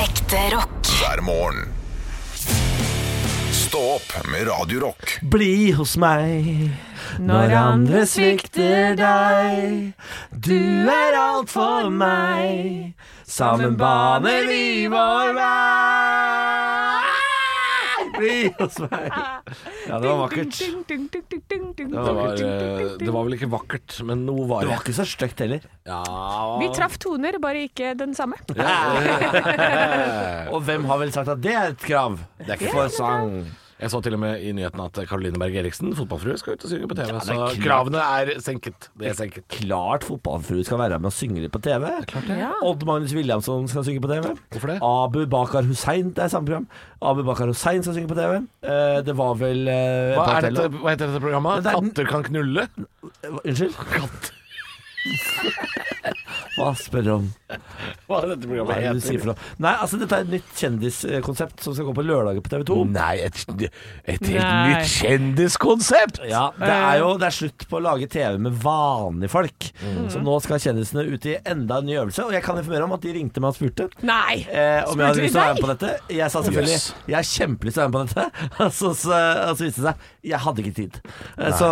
Ekte rock. hver morgen. Stå opp med Radio Rock. Bli hos meg når andre svikter deg. Du er alt for meg. Sammen baner vi vår vei. Bli hos meg. Ja, det var vakkert. Det Det var, eh, det var vel ikke vakkert, men noe var det. var ikke så stygt heller. Ja, Vi traff toner, bare ikke den samme. Og hvem har vel sagt at det er et sånn krav? det er ikke for sang. Jeg så til og med i nyheten at Caroline Berg Eriksen, fotballfrue, skal ut og synge på TV. det er så klart. kravene er senket. Det er senket. Klart fotballfrue skal være med og synge litt på TV. Odd Magnus Williamson skal synge på TV. Hvorfor det? Abu Bakar Hussein, det er samme program. Abu Bakar Hussein skal synge på TV. Eh, det var vel eh, Hva, Patel- er dette, hva heter dette programmet? Det er den- Katter kan knulle? Hva- Unnskyld? Hva spør du om? Hva er dette Hva programmet er det du sier for noe? Nei, altså dette er et nytt kjendiskonsept som skal gå på lørdager på TV 2. Nei, et, et helt Nei. nytt kjendiskonsept! Ja, det er jo det er slutt på å lage TV med vanlige folk. Mm. Så nå skal kjendisene ut i enda en ny øvelse. Og jeg kan informere om at de ringte meg og spurte. Nei! Eh, om jeg hadde Spurte lyst de til å være deg? med på dette. Jeg sa selvfølgelig Yes. Jeg har kjempelyst til å være med på dette. Og så, så, og så viste det seg jeg hadde ikke tid. Eh, Så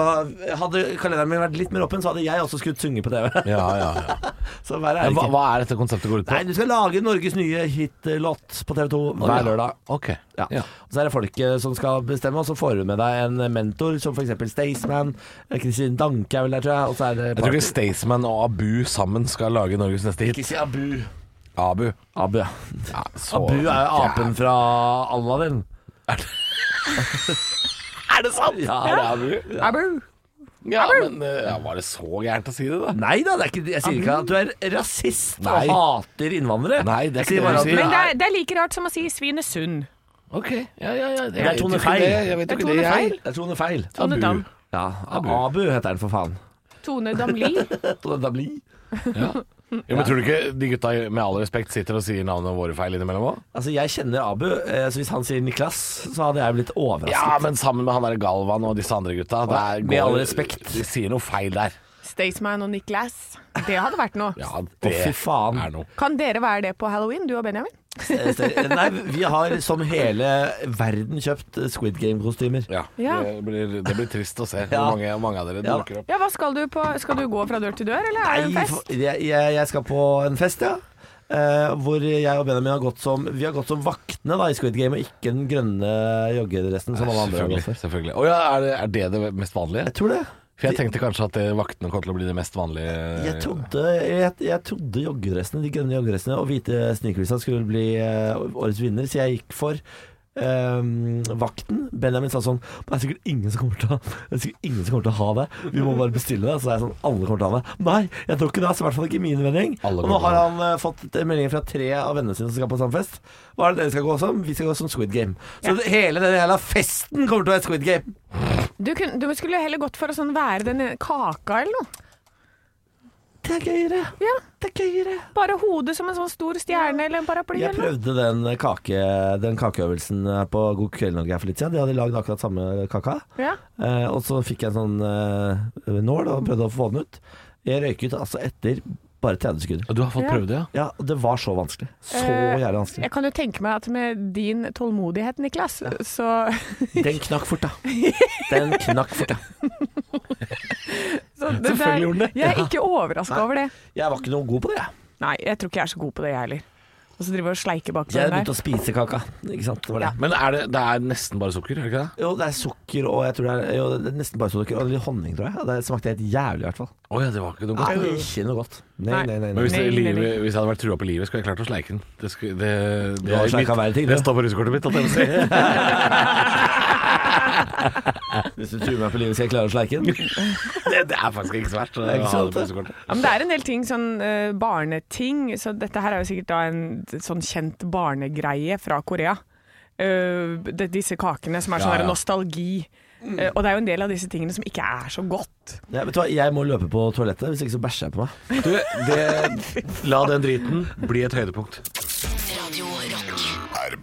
hadde kalenderen min vært litt mer åpen, så hadde jeg også skulle synge på TV. Ja, ja, ja. Så verre er det Men Hva, ikke. hva er dette konseptet går ut på? Nei, du skal lage Norges nye hitlåt på TV 2 hver lørdag. Ok. Ja. Og så er det folket som skal bestemme, og så får du med deg en mentor, som f.eks. Staysman. eh, Kristin Danke er vel der, tror jeg. Og så er det Jeg tror ikke Staysman og Abu sammen skal lage Norges neste hit. Ikke si Abu. Abu. Abu, ja. Ja, så- Abu er jo apen fra Aladdin. Er det sant? Ja, det er Abu. Abu! Ja, men eh, ja, var det så gærent å si det, da? Nei da, det er ikke, jeg sier ikke at du er rasist Nei. og hater innvandrere. Nei, det er Jeg sier ikke det bare vi at sier. Men det er, det er like rart som å si Svinesund. Ok, ja, ja, ja. er jeg vet jo Tone ikke Feil. det, Jeg vet Det er jo ikke det, Tone jeg. Feil. Det er Tone Feil. Tone Dam. Ja, Abu. Abu heter den for faen. Tone Damli. Tone Damli. Jo, men tror du ikke de gutta med all respekt sitter og sier navnene våre feil innimellom òg? Altså, jeg kjenner Abu, eh, så hvis han sier Niklas, så hadde jeg blitt overrasket. Ja, men sammen med han der Galvan og disse andre gutta. Der Med all respekt. De sier noe feil der. Staysman og Niklas. Det hadde vært noe. Ja, Å, fy faen. er noe. Kan dere være det på halloween, du og Benjamin? Eh, Ster- Nei, vi har som hele verden kjøpt eh, Squid Game-kostymer. Ja, Ja. Det, blir, det blir trist å se hvor Ja. mange, mange av dere Ja. dukker opp. Ja, hva skal du på? Skal du gå fra dør til dør, eller er det en Nei, fest? for- jeg, jeg, jeg skal på en fest, ja. Eh, hvor jeg og Benjamin har gått som Vi har gått som vaktene da, i Squid Game, og ikke den grønne joggedressen som alle andre har gått Selvfølgelig. for. selvfølgelig. Å ja, er det, er det det mest vanlige? Jeg tror det. For jeg tenkte kanskje at det, vaktene kom til å bli det mest vanlige. Jeg trodde, jeg, jeg trodde joggedressene, de grønne joggedressene og hvite sneakersa skulle bli eh, årets vinner, så jeg gikk for ehm, vakten. Benjamin sa sånn Det er sikkert ingen som kommer til å Det er sikkert ingen som kommer til å ha det. Vi må bare bestille det. Så er jeg sånn Alle kommer til å ha det. Nei, jeg tror ikke det. Så i hvert fall ikke min vending. Alle Og kommer nå til å har ha han eh, fått eh, meldinger fra tre av vennene sine som skal på samme fest. Hva er det dere skal gå som? Vi skal gå som Squid Game. Så det- hele den jævla festen kommer til å være Squid Game. Du, kun, du skulle heller gått for å sånn være den kaka eller noe. Det er gøyere. Ja. Det er gøyere. Bare hodet som en sånn stor stjerne eller en paraply Jeg eller noe. prøvde den, kake, den kakeøvelsen på God kveld Norge her for litt siden. De hadde lagd akkurat samme kaka. Ja. Eh, og så fikk jeg en sånn eh, nål og prøvde å få den ut. Jeg røyket altså etter bare 30 sekunder. Du har fått Ja. prøvd det, ja? Ja, og det var så vanskelig. Så Eh, jævlig vanskelig. Jeg kan jo tenke meg at med din tålmodighet, Niklas, så Den knakk fort, da. Den knakk fort, da. så det der- Selvfølgelig gjorde den det. Jeg er ikke overraska Nei. over det. Jeg var ikke noe god på det, jeg. Nei, jeg tror ikke jeg er så god på det, jeg heller. Og så driver jeg og sleiker bak Jeg den der. begynte å spise kaka. Ikke sant? Det var det. Men er det, det er nesten bare sukker, er det ikke det? Jo, det er sukker og jeg tror det er, jo, det er nesten bare sukker og litt honning, tror jeg. Og Det smakte helt jævlig, i hvert fall. Å ja, det var ikke noe Nei, godt. Ikke noe godt. Nei, Ah. Nei. nei, nei. Men nei. hvis, det, Nei, nei, nei. livet, hvis jeg hadde vært trua på livet, skulle jeg klart å sleike den. Det, sku, det, det, har er sleiket mitt- verre ting, du. det står på russekortet mitt. At jeg må si. Hvis du truer meg på livet, skal jeg klare å sleike den? det, det er faktisk ikke så verst. å er ikke ha sant, det på det. russekortet. Ja, men det er en del ting, sånn eh, barneting, så dette her er jo sikkert da en sånn kjent barnegreie fra Korea. Eh, det, disse kakene som er sånn Ja, her ja. nostalgi. Mm. Eh, og det er jo en del av disse tingene som ikke er så godt. Ja, vet du hva, Jeg må løpe på toalettet, hvis ikke så bæsjer jeg på meg. Du, det, la den driten bli et høydepunkt. Radio Rock. Er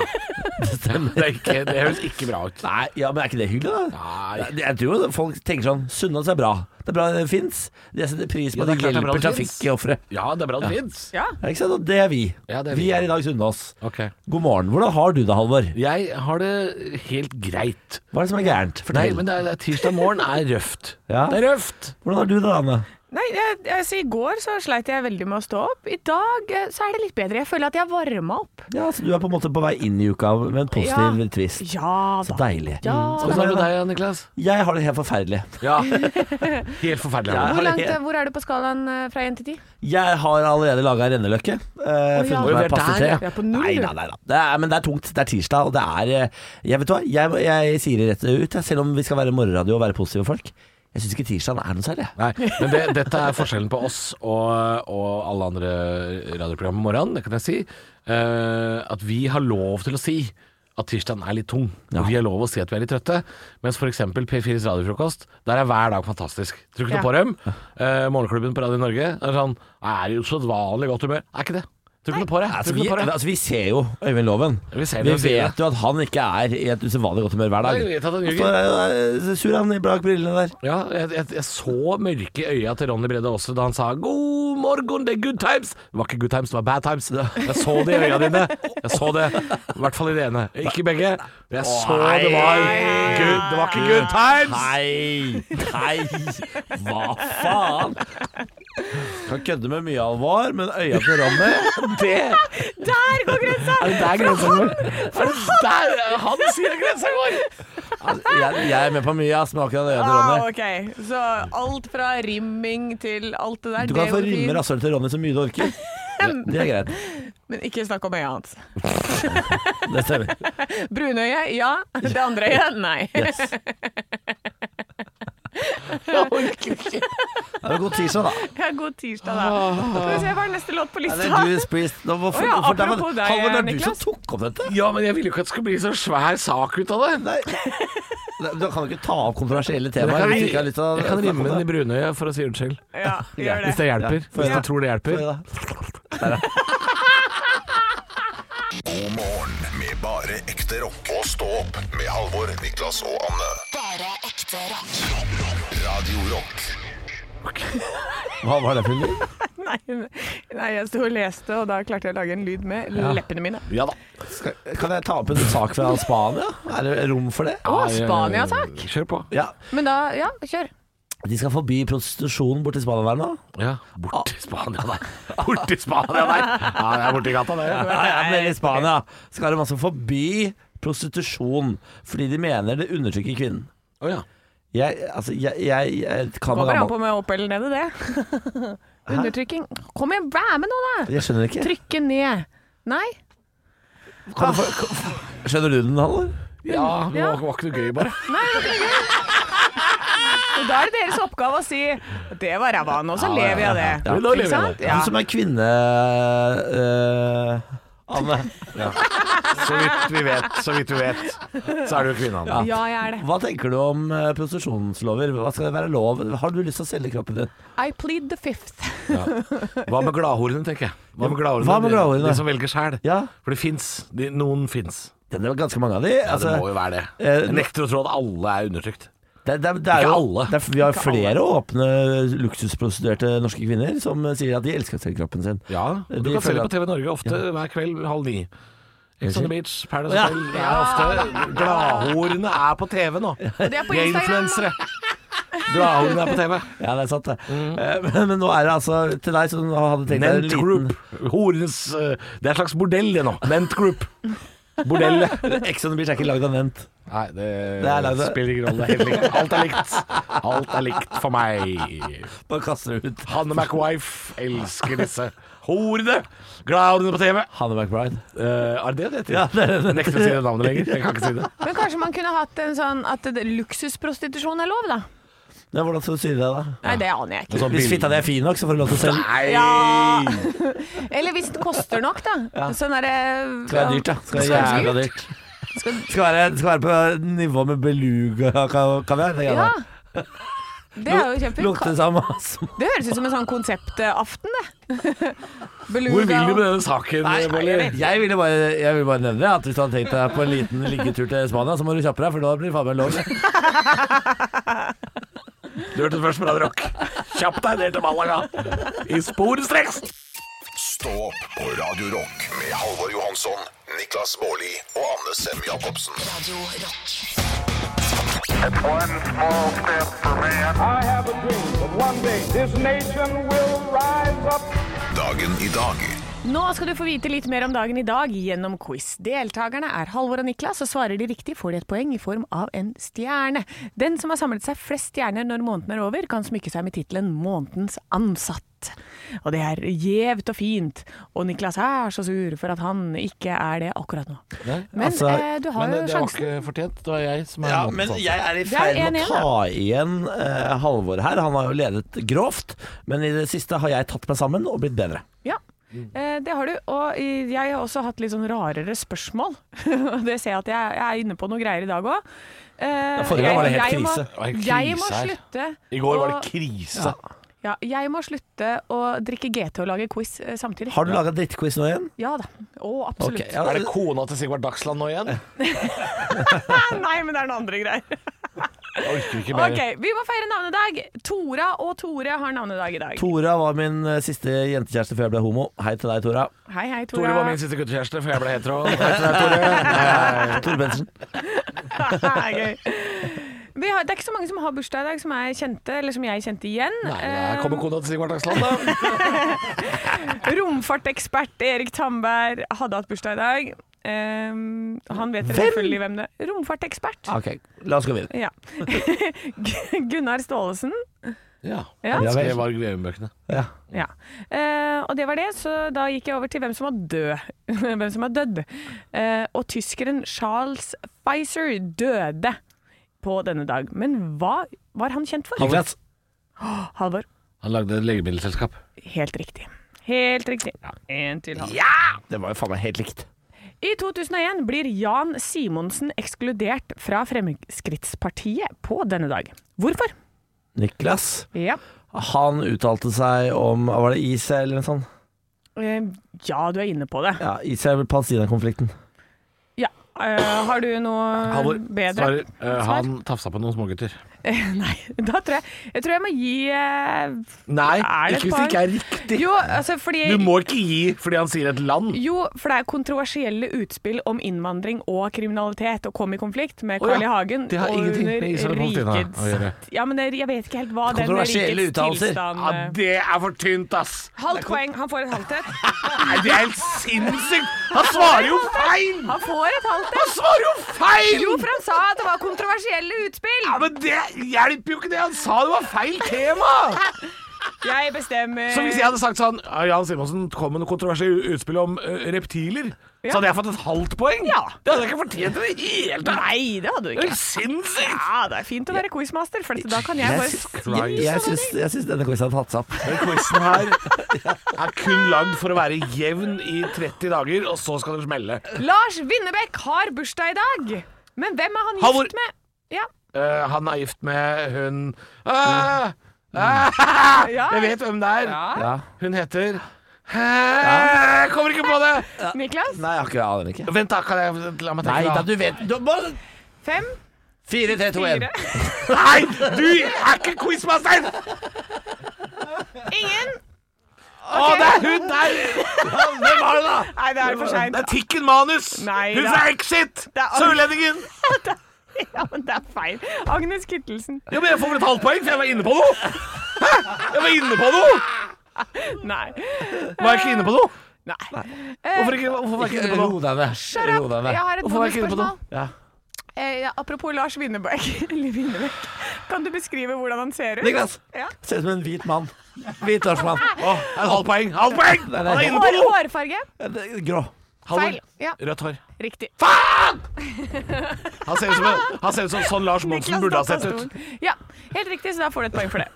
Det stemmer. det, er ikke, det høres ikke bra ut. Nei, ja, men er ikke det hyggelig, da? Nei. Det- Jeg tror jo folk tenker sånn Sunnaas er bra. Det er bra det fins. Jeg setter pris på Ja, at det det er klart det er bra hjelper det finnes. trafikkofre. Ja, det er bra det fins. Ja. Ja, Ikke sant? Og det er vi. Ja, det er vi. vi. er i dag Sunnaas. Ok. God morgen. Hvordan har du det, Halvor? Jeg har det helt greit. Hva er det som er gærent? Nei, Fortell. men det er, det er tirsdag morgen er røft. Ja. Det er røft. Hvordan har du det, Anne? Nei, jeg, altså, I går så sleit jeg veldig med å stå opp. I dag eh, så er det litt bedre. Jeg føler at jeg varma opp. Ja, så Du er på en måte på vei inn i uka med en positiv Ja. twist. Ja Så da. deilig. Ja. Hvordan er det med deg, Niklas? Jeg har det helt forferdelig. Ja. Helt forferdelig. Ja. Ja. har Hvor, det langt, helt- hvor er du på skalaen eh, fra 1 til 10? Jeg har allerede laga renneløkke. Uh, ja. funnet Oi, vi er meg passe der, tre. ja. Vi er på null, Nei, du. nei, nei, nei. Det er, men det er tungt. Det er tirsdag, og det er eh, Jeg vet du hva, jeg, jeg sier det rett ut, jeg, selv om vi skal være morgenradio og være positive folk. Jeg syns ikke tirsdagen er noe særlig. jeg. Nei, men det, dette er forskjellen på oss og, og alle andre radioprogram om morgenen, det kan jeg si. Eh, at vi har lov til å si at tirsdagen er litt tung. Ja. Og vi har lov å si at vi er litt trøtte. Mens f.eks. P4s radiofrokost, der er hver dag fantastisk. Tror Ja. ikke noe på dem. Eh, morgenklubben på Radio Norge er sånn Er jo så vanlig godt humør. Er ikke det. Tror ikke noe på det. Altså, Tror vi, ikke noe på det. altså, vi ser jo Øyvind Loven. Vi ser det, vi vi ser vet jo at han ikke er i et usedvanlig godt humør hver dag. Nei, vi vet at han ljuger. står der og er sur han i bak brillene der. Ja, jeg, jeg, jeg så mørke i øya til Ronny Brede Aase da han sa 'God morgen, det er good times'. Det var ikke good times, det var bad times. Jeg så det i øya dine. Jeg så det. I hvert fall i det ene. Ikke i begge. Jeg så det var good. Det var ikke good times. Nei, nei, hva faen? Kan kødde med mye alvor, men øya til Ronny Det Der går grensa! er det der grensa går. Er det der han sier grensa går? altså, jeg, jeg er med på mye, ass, men akkurat øya til Ah, Ronny ok, Så alt fra rimming til alt det der. Du det kan få altså. går rimme fint. rasshølet til Ronny så mye du orker. Det- Det er greit. Men ikke snakk om øya hans. Det stemmer. Brunøyet, ja. Det andre øyet, nei. Yes. Jeg orker ikke. Det er god tirsdag, da. Ja, god tirsdag, da. Skal vi se, hva er neste låt på Ja, det lista? er du, Spreeze. Nå, hvorfor, Å ja, hvorfor, der var- apropos deg, Halvor, det er du som Niklas. tok opp dette. Ja, men jeg ville jo ikke at det skulle bli så svær sak ut av det. Nei. Nei, Du kan jo ikke ta opp kontroversielle temaer. kan- hvis du ikke har lyst til å Jeg snakke kan om rimme den i brunøya for å si unnskyld. Ja, gjør det. Hvis det hjelper. Ja, får jeg Hvis da. du tror det hjelper. det. God morgen med bare ekte rock. Og stå opp med Halvor, Niklas og Anne. Bare ekte rock. Radio Rock Hva var det for en lyd? Nei, nei, jeg sto og leste, og da klarte jeg å lage en lyd med leppene mine. Ja da. Skal- Kan jeg ta opp en sak fra Spania? Er det rom for det? Å, Spania-sak! Kjør på. Ja. Men da, ja, kjør. De skal forby prostitusjon borti Spania hver nå. Ja, bort til Spania der. Bort til Spania der. Ja, det er borti gata, det. Ja, ja, men i Spania skal de altså forby prostitusjon fordi de mener det undertrykker kvinnen. Oh, ja. Jeg, altså, jeg, jeg, jeg kan være Kommer an gammel. på med opp eller nede, det. Undertrykking. Kom igjen, vær med nå, da! Jeg skjønner ikke. Trykke ned. Nei. Kan du få- Skjønner du den, Halvor? ja, det var, var ikke noe gøy, bare. Nei, det var ikke gøy. Og da er det deres oppgave å si 'det var ræva av nå, så lever jeg av det'. Ja, Men da lever Ikke jeg sant? det. Ja. Du som er kvinne... øh, Anne, Så vidt vi vet, så vidt vi vet, så er det jo kvinnen. Ja. ja, jeg er det. hva tenker du om øh, prostitusjonslover? Hva skal det være lov? Har du lyst til å selge kroppen din? I plead the fifth. Hva med gladhorene, tenker jeg. Hva med gladhorene? Hva med gladhorene? De, de som velger sjæl. Ja. For det fins. De, noen fins. Det er ganske mange av de. Ja, altså- det må jo være det. eh, Jeg nekter å tro at alle er undertrykt. Det, det, det er Ikke jo, alle. Det er, vi har flere åpne luksusprostituerte norske kvinner som sier at de elsker selv kroppen sin. Ja, og Du De kan se det føler på TV Norge ofte hver kveld halv ni. Ex on the Beach, Paradise Ja. Hotel Det er ofte Gladhorene er på TV nå. Og det er på De er Instagram. influensere. Gladhorene er på TV. Ja, det er sant, det. Eh, Men, men nå er det altså til deg som hadde tenkt deg en Ment liten Group. Horenes eh, Det er et slags bordell, det nå. Ment Group. Bordell. Ex on the beach er ikke lagd av Nent. Nei, det, Det er lagd av- spiller ingen rolle. Det er helt likt. Alt er likt. Alt er likt for meg. Bare kaster det ut. Hanne McWife elsker disse horene. Glad i på TV. Hanne McBride. Eh, er det det det heter? Ja, det er det det Jeg nekter å si det navnet lenger. Jeg kan ikke si det. Men kanskje man kunne hatt en sånn at det- luksusprostitusjon er lov, da? Ja, hvordan skal du si det, da? Nei, det aner jeg ikke. Sånn Hvis bild- fitta di er fin nok, så får du lov til å selge. Nei! Ja. Eller hvis den koster nok, da. Sånn derre Skal være dyrt, da. Skal være Skal være jævla dyrt. Skal være, skal være på nivå med beluga-kaviar. Ja. Det er jo Lukter kjempe... det samme som Det høres ut som en sånn konseptaften, det. Hvor vil du med det? denne saken, Boller? Jeg ville bare, jeg ville bare nevne at hvis du hadde tenkt deg på en liten liggetur til Spania, så må du kjappe deg, for da blir det faen meg lov. Du hørte det først på Radio Rock. Kjapp deg ned til Malaga. I sporenstreks. Stå opp på Radio Rock med Halvor Johansson, Niklas Baarli og Anne Sem Jacobsen. Radio Rock. One small step for man. I have a dream that one day this nation will rise up. Dagen i dag Nå skal du få vite litt mer om dagen i dag gjennom quiz. Deltakerne er Halvor og Niklas, og svarer de riktig får de et poeng i form av en stjerne. Den som har samlet seg flest stjerner når måneden er over, kan smykke seg med tittelen 'Månedens ansatt'. Og det er gjevt og fint, og Niklas er så sur for at han ikke er det akkurat nå. Men altså, eh, du har Men det, jo det var sjansen. ikke fortjent. Det var jeg som er Ja, måten men sånn. jeg er i Det er ferd med å en ta igjen eh, Halvor her. Han har jo ledet grovt, men i det siste har jeg tatt meg sammen og blitt bedre. Ja, Mm. eh, det har du. Og i- jeg har også hatt litt sånn rarere spørsmål. Og det ser jeg at jeg, jeg er inne på noe greier i dag òg. forrige gang var det helt krise. Det var helt Må, jeg må krise her. slutte I går var å- det krise. Ja, jeg må slutte å drikke GT og lage quiz eh, samtidig. Har du laga drittquiz nå igjen? Ja da. Å, absolutt. Ok, ja, Er det kona til Sigvard Dagsland nå igjen? Nei, men det er noen andre greier. Jeg orker ikke mer. Ok, Vi må feire navnedag. Tora og Tore har navnedag i dag. Tora var min eh, siste jentekjæreste før jeg ble homo. Hei til deg, Tora. Hei, hei, Tora. Tore var min siste guttekjæreste, for jeg ble hetero. Tore Bensen. Gøy. Vi har, det er ikke så mange som har bursdag i dag som er kjente, eller som jeg kjente igjen. Nei, der kommer kona til Sigvard Dagsland, da. Romfartekspert Erik Tandberg hadde hatt bursdag i dag. Ehm, han vet dere selvfølgelig hvem det er. Romfartekspert. Ok, la oss gå videre. Ja. Gunnar Staalesen. Ja. Ja. Jeg skrev Varg Veum-bøkene. Ja. Ja. Eh, og det var det, så da gikk jeg over til hvem som var død. hvem som var dødd. Eh, og tyskeren Charles Pfizer døde på denne dag. Men hva var han kjent for? Niklas. Halvor. Han lagde et legemiddelselskap. Helt riktig. Helt riktig. En til Halvor. Det var jo faen meg helt likt. I 2001 blir Jan Simonsen ekskludert fra Fremskrittspartiet på denne dag. Hvorfor? Niklas. Ja, Han uttalte seg Mm, om Var det Israel eller noe sånt? eh, ja du er inne på det. Ja, Israel-Palestina-konflikten. Ja. eh, har du noe Halvor bedre? svarer eh, han tafsa på noen smågutter. Nei, da tror jeg Jeg tror jeg må gi eh, Nei, Er det et ikke hvis det poeng? ikke er riktig. Jo, altså fordi Du må ikke gi fordi han sier et land. Jo, for det er kontroversielle utspill om innvandring og kriminalitet, og kom i konflikt med Å ja, Carl I. Hagen. det har og ingenting med Israel og Palestina å gjøre. rikets Ja, men det, jeg vet ikke helt hva den Kontroversielle rikets uttalelser. tilstand Ja, eh, det er for tynt, ass. Halvt poeng. Han får et halvt et. Nei, det er helt sinnssykt. Han svarer jo feil! Han får et halvt Han et! svarer jo feil! Jo, for han sa at det var kontroversielle utspill! Ja, men det hjelper jo ikke det. Han sa det var feil tema. Jeg bestemmer. Så hvis jeg hadde sagt sånn «Ja, Jan Simonsen kom med noe kontroversielt utspill om eh, reptiler, så hadde jeg fått et halvt poeng. Ja. Det hadde jeg ikke fortjent i det hele tatt. Nei, det hadde du Det er ikke. helt sinnssykt. Ja, det er fint å være quizmaster, for da kan jeg Jeg, bare sy- jeg, jeg, syns, jeg syns denne quizen har tatt seg opp. Den quizen her er kun lagd for å være jevn i 30 dager, og så skal den smelle. Lars Winnebekk har bursdag i dag! Men hvem er han gift Halvor. med? Ja. Eh, han er gift med hun Ah! Ah! Ja. Jeg vet hvem det er. Ja. Hun heter Jeg kommer ikke på det! Niklas? Nei, jeg akkurat aner ikke. Vent, da. Kan jeg, la meg Nei, da, tenke. du vet du, må, Fem? 4, 3, 2, 1. Fire? da. Nei, du er ikke quizmaster! Ingen? Å, det er hun der! Hvem var det, da? Nei, det er for Det seint. er Tikken Manus. Nei, hun det fra er- Exit. er- Sørlendingen. Ja, men det er feil. Agnes Kittelsen. Ja, men jeg får vel et halvt poeng, for jeg var inne på noe. Hæ? Jeg var inne på noe. Nei. Var jeg ikke inne på noe? Nei. Hvorfor ikke? Hvorfor var ikke Ikke det på ro nå? deg ned. Shut up! Ro deg ned. Jeg har et Hvorfor var ikke det på nå? bonusspørsmål. Ja. Eh, ja, apropos Lars Winnebekk. Winnebekk. Kan du beskrive hvordan han ser ut? Niklas! Ja. Ser ut som en hvit mann. Hvit norskmann. Åh, en halv poeng! Halv poeng! Nei, Han nei. er inne på Hår, noe! hårfarge? Ja, Eh, det er Grå. Feil. Halvor. Ja, Rødt hår. riktig. Han ser ut som, en, han ser ut som sånn Lars Monsen Niklas burde ha datt av sett ut. stolen. Ja, helt riktig, så da får du et poeng for det.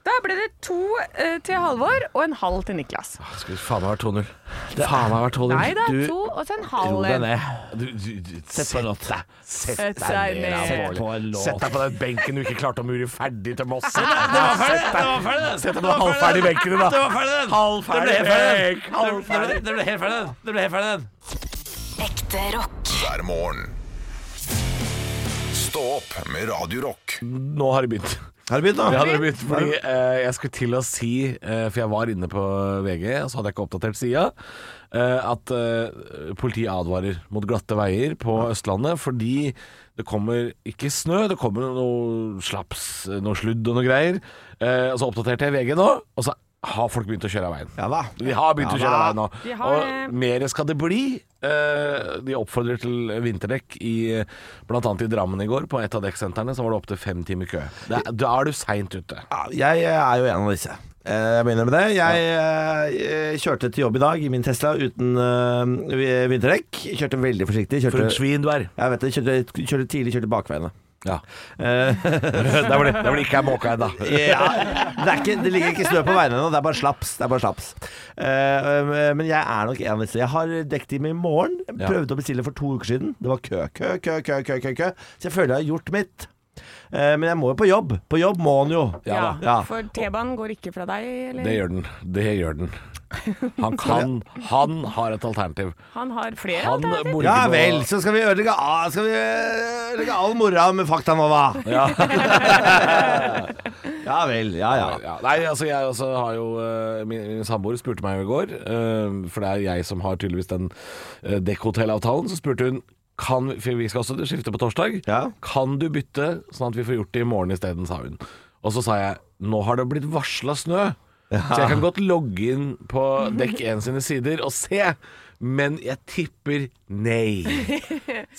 Da ble det to eh, til Halvor og en halv til Niklas. Skulle faen meg vært 2-0. Faen meg vært 2-0. Nei da, du- to og så en Ro halv. eh, deg ned. Du, du, du, Sett på en låt. Sett Sett seg deg ned. ned. Sett på en låt. Sett deg på den benken du ikke klarte å mure ferdig til Moss. Det var ferdig, det var ferdig. Sett deg på den halvferdige benken din, da. ferdig, den! Halvferdig Det ble helt benk. ferdig, den. Det ble- Det Halvferdig. ble helt ferdig, den. Det ble helt ferdig, den. Ekte rock. hver morgen. Stå opp med Radio Rock. Nå har det begynt. Har du begynt, Ja, da? det har begynt, fordi eh, Jeg skulle til å si, eh, for jeg var inne på VG, og så hadde jeg ikke oppdatert sida, eh, at eh, politiet advarer mot glatte veier på Østlandet fordi det kommer ikke snø, det kommer noe slaps, noe sludd og noe greier. Eh, og så oppdaterte jeg VG nå, og så har folk begynt å kjøre av veien. Ja da. De har begynt Ja, å kjøre av da. veien nå. De har det. og mer skal det bli. Eh, De oppfordrer til vinterdekk i bl.a. i Drammen i går. På et av dekksentrene så var det opptil fem timer kø. Det, da er du seint ute. Ja, jeg er jo en av disse. Eh, Jeg begynner med det. Jeg eh, kjørte til jobb i dag i min Tesla uten eh, vi- vinterdekk. Kjørte veldig forsiktig. For et Kjørte, svin du er. jeg vet det, kjørte, kjørte tidlig, kjørte bakveiene. Ja. Eh, Der hvor det, der hvor det ikke er måke ennå. ja, det, er ikke, det ligger ikke snø på veiene ennå, det er bare slaps. Det er bare slaps. Eh, men jeg er nok en av disse. Jeg har dekktime i morgen. Ja. Prøvde å bestille for to uker siden. Det var kø, kø, kø, kø, kø. kø, kø. Så jeg føler jeg har gjort mitt. Eh, men jeg må jo på jobb. På jobb må han jo. Ja da. Ja. For T-banen går ikke fra deg, eller? Det gjør den. Det gjør den. Han kan Han har et alternativ. Han har flere Han alternativer. bor Ja ikke på- vel, så skal vi ødelegge, ah, skal vi ødelegge all mora med fakta nå, hva? Ja. Ja vel, ja ja. Ja. Nei, altså jeg også har jo eh, Min, min samboer spurte meg jo i går, eh, for det er jeg som har tydeligvis den uh, dekkhotellavtalen, så spurte hun kan, For vi skal også skifte på torsdag. Ja. Kan du bytte sånn at vi får gjort det i morgen isteden, sa hun. Og så sa jeg nå har det blitt varsla snø, så jeg kan godt logge inn på dekk 1 sine sider og se. Men jeg tipper nei.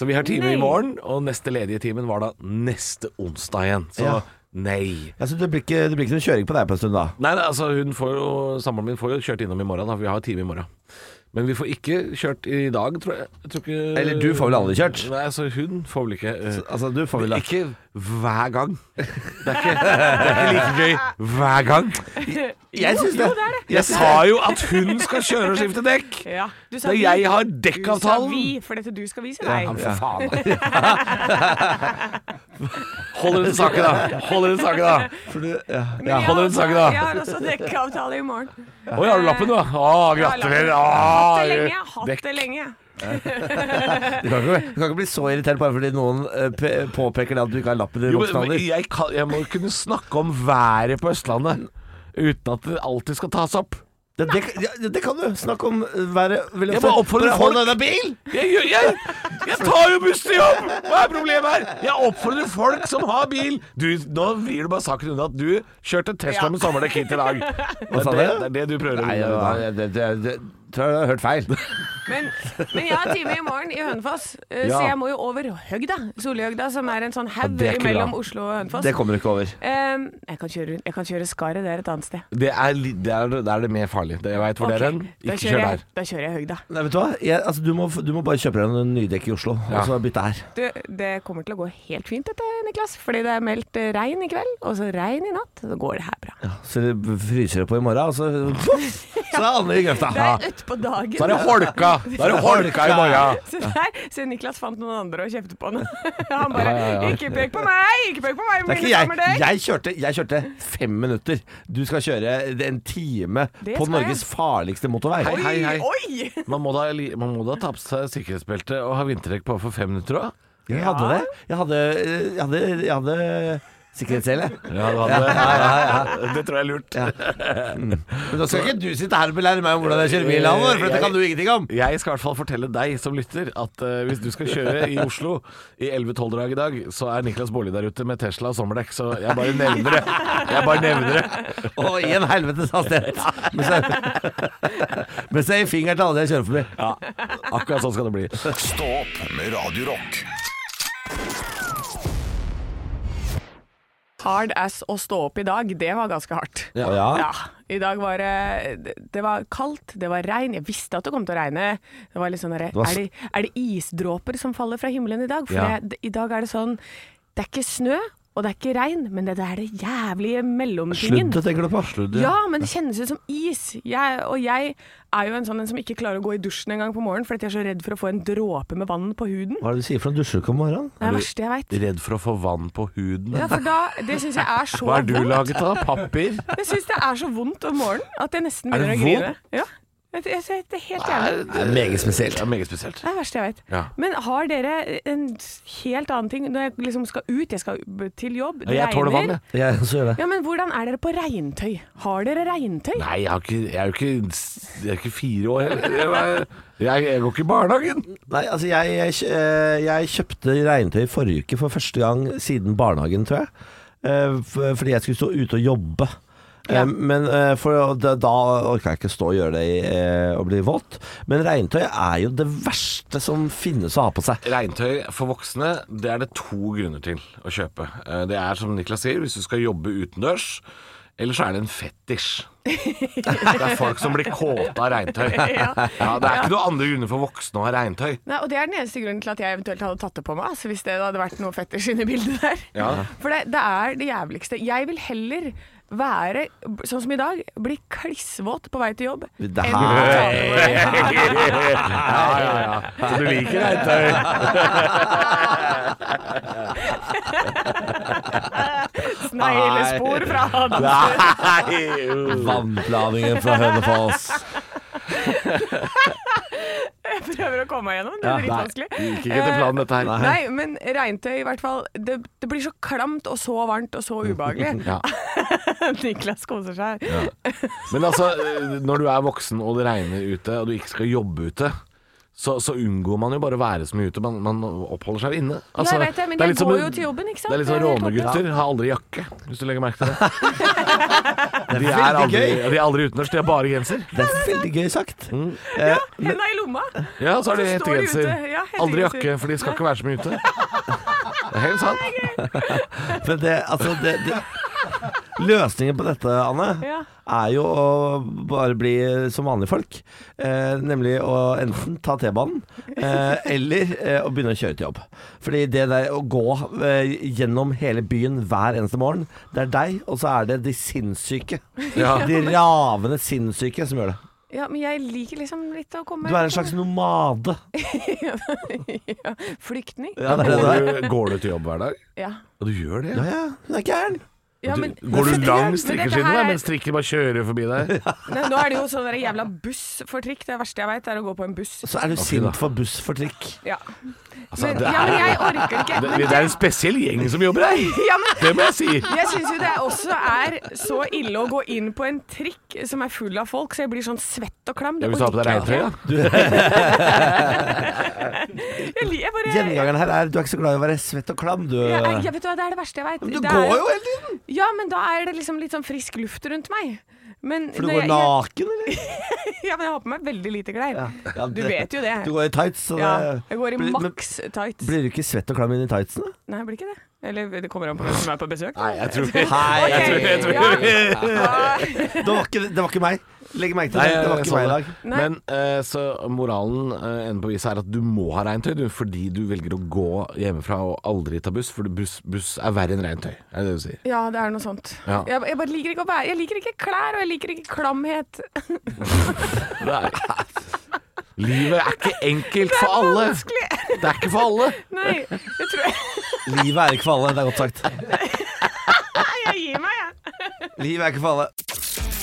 Så vi har time i morgen, og neste ledige timen var da neste onsdag igjen. Så Ja. nei. Altså, det, blir ikke, det blir ikke noe kjøring på deg på en stund da? Nei, nei, altså hun får jo Samboeren min får jo kjørt innom i morgen, da, for vi har time i morgen. Men vi får ikke kjørt i dag, tror jeg. jeg tror ikke, Eller du får vel aldri kjørt? Nei, altså hun får vel ikke eh, Altså, du får vel da Ikke hver gang. Det er ikke, det er ikke like gøy hver gang. Jeg syns det. Jeg sa jo at hun skal kjøre og skifte dekk! Ja. Du sa Da vi. jeg har Du sa dekkavtalen! vi, for dette du skal vise deg. Ja, men for faen. Holder ut saken, da. Holder ut saken, da. For du, ja. Men jeg har holder en også- sak, da. Jeg har også dekkeavtale i morgen. Oi, har du lappen, du? Å, gratulerer. Ah, Å, Hatt det lenge. jeg har Hatt dekk. det lenge. Du, kan ikke, du kan ikke bli så irritert bare fordi noen eh, pe- påpeker det at du ikke har lappen i Jo, men- voksen men alder. jeg, kan, jeg må jo kunne snakke om været på Østlandet uten at det alltid skal tas opp. Det, det, ja, det kan du. Snakk om eh, været veldig Jeg bare oppfordrer Bare Hold folk- deg unna bil! Jeg, gjør- jeg, jeg tar jo buss til jobb! Hva er problemet her? Jeg oppfordrer folk som har bil du, Nå vrir du bare saken unna at du kjørte Tesla med sommerdekk hit i dag. Det sa er det, du? det er det du prøver å Nei, gjøre. i dag. det, det, det, det tror jeg du har hørt feil. Men, men jeg har time i morgen i Hønefoss, eh, så Ja. jeg må jo over Høgda. Solihøgda, som er en sånn haug det er ikke mellom bra. Oslo og Hønefoss. Det kommer du ikke over. Ehm, jeg, kan kjøre, jeg kan kjøre Skaret, det er et annet sted. Det er, li- det er, det er det mer farlig. Det, jeg veit hvor det er hen. Ok, da, Ikke kjører kjør jeg, der. da kjører jeg Høgda. Nei, vet Du hva? Jeg, altså, du, må, du må bare kjøpe deg en nydekk i Oslo, Ja. og så bytte her. Du, det kommer til å gå helt fint dette, Niklas. Fordi det er meldt eh, regn i kveld, og så regn i natt. Så går det her bra. Så det fryser det på i morgen, og så poff, Så er alle i grøfta. Det er utpå dagen. Så er det holka! Da er det holka i morgen. Se der, se Niklas fant noen andre og kjefte på han. Han bare Ja, ja, ja. 'Ikke pek på meg! Ikke pek på meg! Det er mine ikke jeg. sommerdekk!» Jeg kjørte, jeg kjørte fem minutter. Du skal kjøre en time Det på skal Norges farligste motorvei. Hei, hei, hei. Oi! Man må da, li- man må da ta på seg sikkerhetsbeltet og ha vinterdekk på for fem minutter òg. eh, Jeg hadde det. Jeg hadde, jeg hadde, jeg hadde Sikkerhetssele. Ja, det, Ja, ja, ja, det tror jeg er lurt. Mm. Men da skal ikke du sitte her og belære meg om hvordan jeg kjører bil, Halvor, for dette kan du ingenting om. Jeg skal i hvert fall fortelle deg som lytter at eh, hvis du skal kjøre i Oslo i 11-12-drag i dag, så er Niklas Baarli der ute med Tesla og sommerdekk, så jeg bare nevner det. Jeg bare nevner det. Og i en helvetes hastighet. Men så- Men så er fingeren til alle jeg kjører forbi. Ja, akkurat sånn skal det bli. Stå opp med Radio Rock. Hard ass å stå opp i dag, det var ganske hardt. Ja. ja. Ja, i dag var det det- Det var kaldt, det var regn. Jeg visste at det kom til å regne. Det var litt sånn derre var s- er, det- er det isdråper som faller fra himmelen i dag? For Ja. det, i dag er det sånn Det er ikke snø, og det er ikke regn, men det, det er det jævlige mellomtingen. Sluddet tenker du på? Sluddet. Ja, men det kjennes ut som is. Jeg, og jeg er jo en sånn en som ikke klarer å gå i dusjen engang på morgenen fordi jeg er så redd for å få en dråpe med vann på huden. Hva er det du sier for noe? Dusjer du ikke om morgenen? Det er det verste jeg veit. Redd for å få vann på huden. Ja, for da, det syns jeg er så Hva er du vondt. laget av? Papir? Jeg syns det er så vondt om morgenen at jeg nesten Er begynner det å grine. Ja. Jeg, jeg, jeg, det er helt jævlig. Det er meget spesielt. Det er meget spesielt. Det er det verste jeg vet. Ja. Men har dere en helt annen ting når jeg liksom skal ut, jeg skal til jobb, det Jeg tåler vann, regner jeg. Jeg også gjør det. ja, men hvordan er dere på regntøy? Har dere regntøy? Nei, jeg, har ikke, jeg er jo ikke, jeg er ikke fire år heller. Jeg, jeg, jeg går ikke i barnehagen. Nei, altså jeg, jeg, kjø- eh, jeg kjøpte regntøy forrige uke for første gang siden barnehagen, tror jeg. Eh, f- Fordi jeg skulle stå ute og jobbe. Eh, Men eh, for, å- da, da orka jeg ikke stå og gjøre det i, eh, og bli våt. Men regntøy er jo det verste som finnes å ha på seg. Regntøy for voksne, det er det to grunner til å kjøpe. Eh, Det er som Niklas sier, hvis du skal jobbe utendørs, eller så er det en fetisj. Det er folk som blir kåte av regntøy. Ja, det er ikke noen andre grunner for voksne å ha regntøy. Nei, og Det er den eneste grunnen til at jeg eventuelt hadde tatt det på meg. Altså, hvis det hadde vært noe fetters inni bildet der. Ja. For det, det er det jævligste. Jeg vil heller være, b- sånn som i dag, bli klissvåt på vei til jobb. Det enn å ta her- på meg- Ja, ja, ja. Så du liker regntøy? Sneglespor fra han. Nei! Vannplaningen fra Hønefoss. Jeg prøver å komme meg gjennom, det Ja, er nei. dritvanskelig. Det gikk ikke til planen, dette her. Nei, men regntøy i hvert fall. Det, det blir så klamt og så varmt og så ubehagelig. Ja. Niklas koser seg. Men altså, eh, når du er voksen og det regner ute, og du ikke skal jobbe ute så, så unngår man jo bare å være så mye ute. Man, man oppholder seg inne. Altså, Ja, jeg vet det, men er jeg litt som går en- jo til jobben, ikke sant? Det er litt Det sånn er helt rånegutter. Har aldri jakke, hvis du legger merke til det. De er veldig aldri, gøy. de er aldri utenlands, de har bare genser. Det er veldig gøy sagt. Ja, henda i lomma! Og Ja, så har de så står de ute. hettegenser. Ja, hettegenser. Aldri jakke, for de skal ikke være så mye ute. Det er helt sant. Men det, altså det, det Løsningen på dette, Anne, Ja. er jo å bare bli som vanlige folk. Eh, nemlig å enten ta T-banen, eh, eller eh, å begynne å kjøre til jobb. Fordi det der å gå eh, gjennom hele byen hver eneste morgen, det er deg, og så er det de sinnssyke. De ravende sinnssyke som gjør det. Ja, men jeg liker liksom litt å komme Du er en slags nomade. ja, Flyktning. Ja, det er det Går du er. du, går du til jobb hver dag? Ja. Og du gjør det? Ja, ja, hun er gæren. Ja, Du, men, går du lang Men dette strikkeskinnen her der, er- mens strikker bare kjører forbi deg? Nei, nå er det jo sånn der jævla buss for trikk. Det verste jeg veit, er å gå på en buss. Så er du da. sint for buss for trikk. Ja. Altså, men, det ja, men er- jeg orker ikke. Det, Men det er en spesiell gjeng som jobber her. ja, men, Det må jeg si. jeg syns jo det også er så ille å gå inn på en trikk som er full av folk, så jeg blir sånn svett og klam. Det Jeg vil ta på deg orker regntøy, jeg ja. ikke. Jeg, li- jeg bare jeg, Gjengangeren her er du er ikke så glad i å være svett og klam, du. jeg, vet du hva, Det er det verste jeg veit. Men du går jo hele tiden! Ja, men da er det liksom litt sånn frisk luft rundt meg. Men For du når går naken, eller? jeg, jeg, ja, men jeg har på meg veldig lite klær. Ja, Du vet jo det. Du går i tights. Så Ja, det- jeg går i Blir- men maks tights. Blir du ikke svett og klam inn i tightsene? Nei, jeg blir ikke det. Eller det kommer an på hvem som er på besøk. Nei, jeg tror ikke Hei, jeg tror- jeg det, var ikke, det var ikke meg. Legg merke til Nei, det. Det var jeg ikke sa meg i det. dag. Nei. Men eh, så moralen eh, ender på viset er at du må ha regntøy du, fordi du velger å gå hjemmefra og aldri ta buss, for buss, buss er verre enn regntøy. Er det det du sier? Ja, det er noe sånt. Ja. Jeg, jeg bare liker ikke å være Jeg liker ikke klær, og jeg liker ikke klamhet. Livet er ikke enkelt for alle. Vanskelig. Det er ikke for alle. Nei, jeg tror jeg, Livet er ikke for alle, det er godt sagt. jeg gir meg, jeg. Livet er ikke for alle.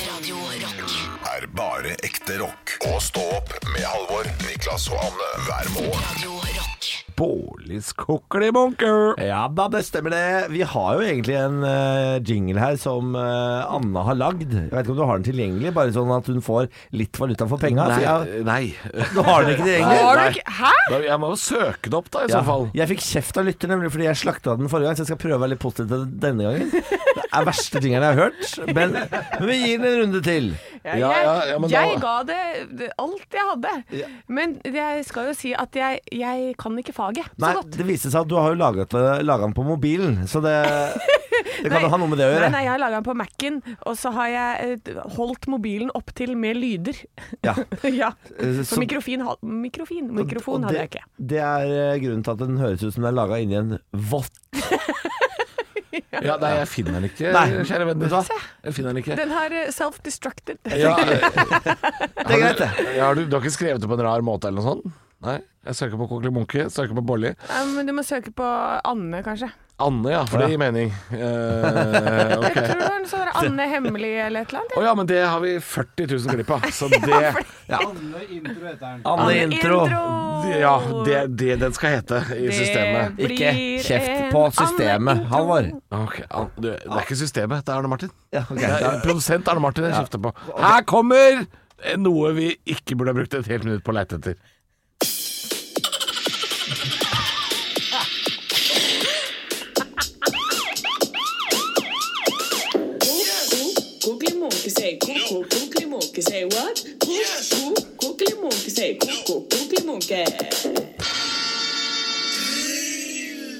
Radio Rock. Er bare ekte rock. Og stå opp med Halvor, Niklas og Anne hver morgen. Radio Rock. Bårlis kuklebunker. Ja da, det stemmer det. Vi har jo egentlig en eh, jingle her som eh, Anna har lagd. Jeg vet ikke om du har den tilgjengelig, bare sånn at hun får litt valuta for penga. Så jeg- nei. Du har den ikke tilgjengelig? Har du ikke Hæ?! Da- Jeg må jo søke det opp, da, i Ja. så fall. Jeg fikk kjeft av lytter nemlig fordi jeg slakta den forrige gang, så jeg skal prøve å være litt positiv til denne gangen. Det er verste jingeren jeg har hørt, men, men vi gir den en runde til. Jeg, Ja, ja, ja, men da- jeg ga det det- alt jeg hadde. Men jeg skal jo si at jeg, jeg kan ikke faget så Nei, godt. det viste seg at du har jo laget, eh, laget den på mobilen, så det, det kan jo ha noe med det å Nei, gjøre. nei, jeg har laga den på Mac-en, og så har jeg eh, holdt mobilen opp til med lyder. Ja. ja. Eh, For så- mikrofin, ha- mikrofin, Og mikrofon hadde jeg ikke. Det er eh, grunnen til at den høres ut som den er laga inni en vott. Ja, nei, jeg finner den ikke, Nei. kjære venner. Vet du hva? Jeg finner den ikke. Den har eh, self-destructed. Ja, Det er greit, det. ja, har du, du har ikke skrevet det på en rar måte eller noe sånt? Nei. Jeg søker på kuklebunke, søker på Bårli. Ja, men du må søke på Anne, kanskje. Anne, ja, for det gir mening. Eh, Tror ok. du det var en sånn Anne Hemmelig eller et eller annet? Å ja, men det har vi 40 000 glipp av. Så det Anne Intro. Ja, det, det den skal hete i systemet. blir Ikke kjeft en på Anne systemet, Intro. Halvor. Ok, An- du, Det er ikke systemet, det er Arne Martin. Ja, ok. Det er Produsent Arne Martin jeg kjefter på. Her kommer noe vi ikke burde ha brukt et helt minutt på å leite etter.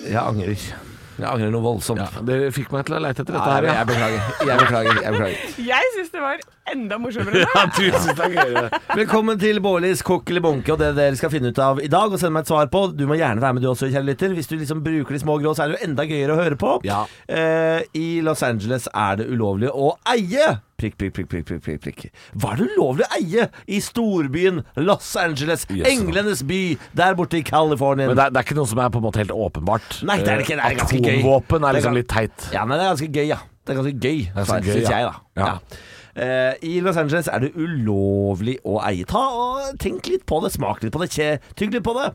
Jeg angrer. Jeg angrer noe voldsomt. Ja, det fikk meg til å leite etter dette Nei, her, ja. jeg beklager. Jeg beklager. Jeg beklager. Jeg syns det var enda morsommere. Ja, du synes det er gøyere. Velkommen til Bårlis kokk eller bunke og det dere skal finne ut av i dag og sende meg et svar på. Du må gjerne være med du også, kjære lytter. Hvis du liksom bruker de små grå, så er det jo enda gøyere å høre på. Ja. Eh, I Los Angeles er det ulovlig å eie prikk, prikk, prikk, prikk, prikk, prikk, prikk. Var det ulovlig å eie i storbyen Los Angeles, Yes. englenes by, der borte i California? Men det er, det er ikke noe som er på en måte helt åpenbart. Eh, Nei, det er det ikke. Det er ganske gøy. Atomvåpen er Det er liksom gans- litt teit. Ja, men det er ganske gøy, ja. Det er ganske gøy, er ganske gøy, syns ja. jeg, da. Ja. Eh, I Los Angeles er det ulovlig å eie. Ta og Tenk litt på det, smak litt på det, kje- tygg litt på det.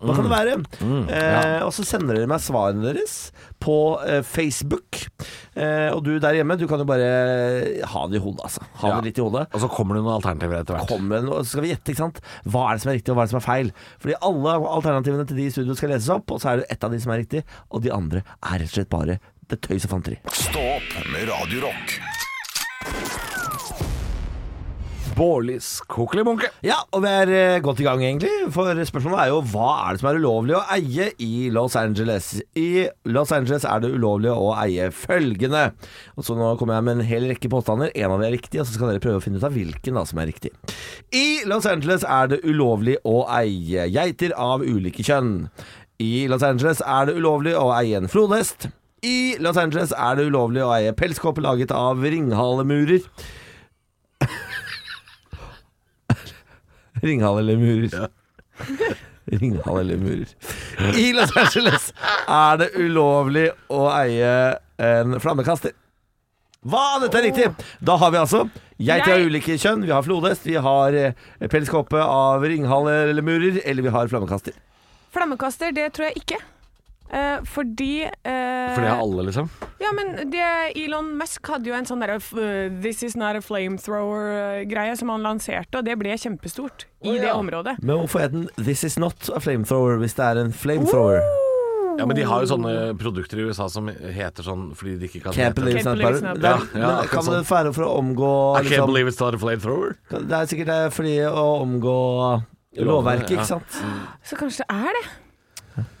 Hva kan det Mm. være? eh, og så sender dere meg svarene deres på eh, Facebook. Eh, og du der hjemme, du kan jo bare ha det i hodet, altså. Ha Ja. det litt i hodet Og så kommer det noen alternativer etter hvert. kommer en, og så skal vi gjette, ikke sant? Hva er det som er riktig, og hva er det som er feil? Fordi alle alternativene til de i studio skal leses opp, og så er det ett av de som er riktig, og de andre er rett og slett bare det tøys og fanteri. Stå opp med Radio Rock. Bårlis kokelibunke. Ja, og vi er eh, godt i gang egentlig, for spørsmålet er jo hva er det som er ulovlig å eie i Los Angeles? I Los Angeles er det ulovlig å eie følgende. Og så nå kommer jeg med en hel rekke påstander. En av de er riktig, og så skal dere prøve å finne ut av hvilken da som er riktig. I Los Angeles er det ulovlig å eie geiter av ulike kjønn. I Los Angeles er det ulovlig å eie en flodhest. I Los Angeles er det ulovlig å eie pelskåpe laget av ringhalemurer. Ringhall eller murer. Ringhall eller murer. I Los Angeles er det ulovlig å eie en flammekaster. Hva? Dette er riktig! Da har vi altså geiter av Jeg- ulike kjønn, vi har flodhest, vi har eh, pelskåpe av ringhaller eller murer, eller vi har flammekaster. Flammekaster, det tror jeg ikke. Eh, fordi eh, For det har alle, liksom. Ja, men det, Elon Musk hadde jo en sånn der, uh, This is not a flamethrower-greie som han lanserte, og det ble kjempestort i det området. Men hvorfor er den 'This is not a flamethrower' hvis det er en flamethrower? Ja, men de har jo sånne produkter i USA som heter sånn fordi de ikke kan Can't hete believe it's not believe bare- it's not Det bare- er- Ja, ja, men Kan akkurat sånn. det være for å omgå I can't liksom, believe it's not a flamethrower. Det er sikkert det er fordi å omgå lovverket, ja. ikke sant? Så kanskje det er det.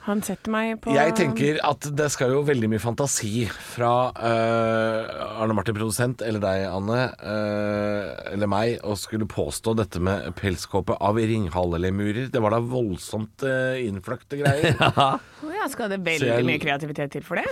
Han setter meg på Jeg tenker at det skal jo veldig mye fantasi fra eh, Arne Martin produsent, eller deg, Anne, eh, eller meg, å skulle påstå dette med pelskåpe av ringhallelemurer. Det var da voldsomt uh, innfløkte greier. Å ja, Skal det Så veldig jeg- mye kreativitet til for det?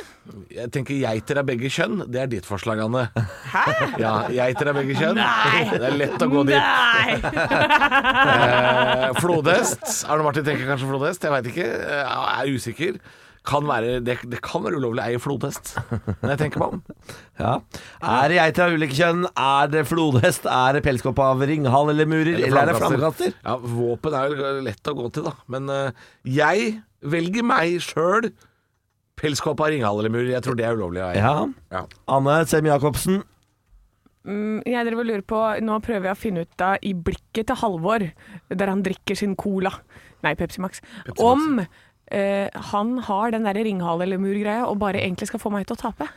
Jeg tenker geiter av begge kjønn. Det er ditt forslag, Anne. Hæ? Ja, geiter av begge kjønn. Det er lett å gå dit. Nei! Eh, flodhest. Arne Martin tenker kanskje flodhest, jeg veit ikke. Eh, Jeg er usikker. kan være, det, det kan være ulovlig ei flodhest, når jeg tenker meg om. Ja. Er det geiter av ulike kjønn? Er det flodhest? Er det pelskopp av ringhal eller murer? Eller, er det flammekaster? Ja, våpen er jo lett å gå til, da. Men eh, jeg velger meg sjøl pelskåpe av ringhale eller mur. Jeg tror det er ulovlig. Jeg. Ja. Ja. Anne Sem-Jacobsen. Mm, Jeg drev og lurer på, nå prøver jeg å finne ut av i blikket til Halvor, der han drikker sin cola, nei Pepsi Max, om eh, han har den der ringhale eller murgreia og bare egentlig skal få meg til å tape.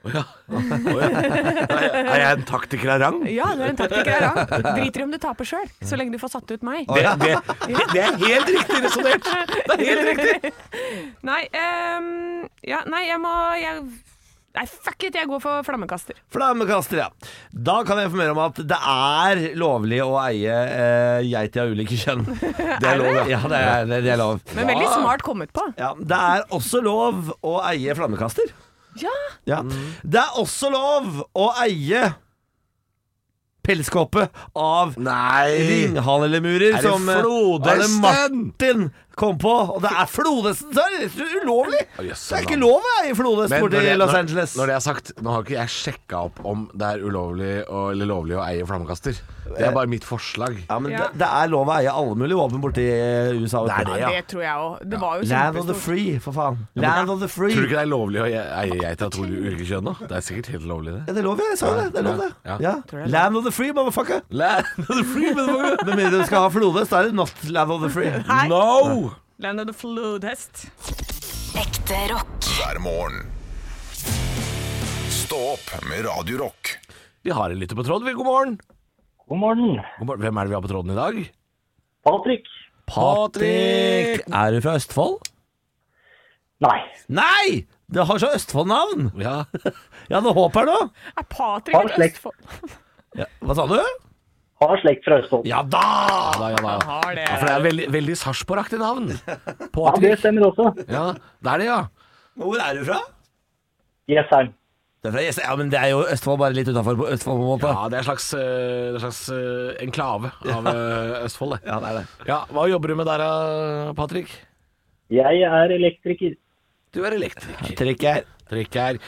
Å ja. Å ja. Er jeg- Er jeg en taktiker av rang? Ja, det er en taktikk her da. Driter i om du taper sjøl, så lenge du får satt ut meg. Det, det, det er helt riktig resonnert! Det er helt riktig! Nei, ehm, ja, nei, jeg må jeg, Nei, fuck it, jeg går for flammekaster. Flammekaster, ja. Da kan jeg informere om at det er lovlig å eie eh, geiter av ulike kjønn. Det er lov, ja. Det er, det er lov. Men veldig smart kommet på. Ja, det er også lov å eie flammekaster. Ja, Ja. Mm. Det er også lov å eie pelskåpe av Nei! ringhalemurer. Er det som, eh, flodhesten? Arne Martin kom på. Og det er flodhesten! Så er det ulovlig! Å, jøss, Det er navn. ikke lov å eie flodhest Men borti når det- Los når- Angeles. Når det er sagt, nå har ikke jeg sjekka opp om det er ulovlig og, eller lovlig å eie flammekaster. Det er bare mitt forslag. ja, men Ja. Det, det er lov å eie alle mulige våpen borti eh, USA. vet Det er du. det, ja. det tror jeg òg. Det var jo Land of the kjempestort. free, for faen. Land of the free. Tror du ikke det er lovlig å eie eie geiter av to ulike kjønn? da? Det er sikkert helt lovlig, det. Ja, det er lov, jeg sa det. det, er lov, det. Ja. Ja. Land of the free, motherfucker. Land of the free, motherfucker! Med mindre du skal ha flodhest, da er det not land of the free. No! Land of the flodhest. Ekte rock. hver morgen. Stå opp med Radio Rock. Vi har en lytter på tråden, vi. God morgen. God morgen. God morgen. Hvem er det vi har på tråden i dag? Patrick? Patrick! Er du fra Østfold? Nei. Nei! Det har så Østfold-navn! Ja. Jeg hadde håp her nå. Er Patrick Har et slekt. Østfold? Ja, hva sa du? Har slekt fra Østfold. Ja da! Ja, da, ja, da. Har det. ja, for det er veldig, veldig sarpsborg-aktig navn. Ja, det Patrick. stemmer også. Ja, det er det, ja. Hvor er du fra? Jessheim. Det er fra Jessheim. Ja, men det er jo Østfold, bare litt utafor Østfold, på en måte. Ja, Det er en slags, eh, det er en slags eh, enklave av eh, Østfold, det. det er det. Ja, Hva jobber du med der, eh, Patrick? Jeg er elektriker. Du er elektriker. Trekk her. Elektriker.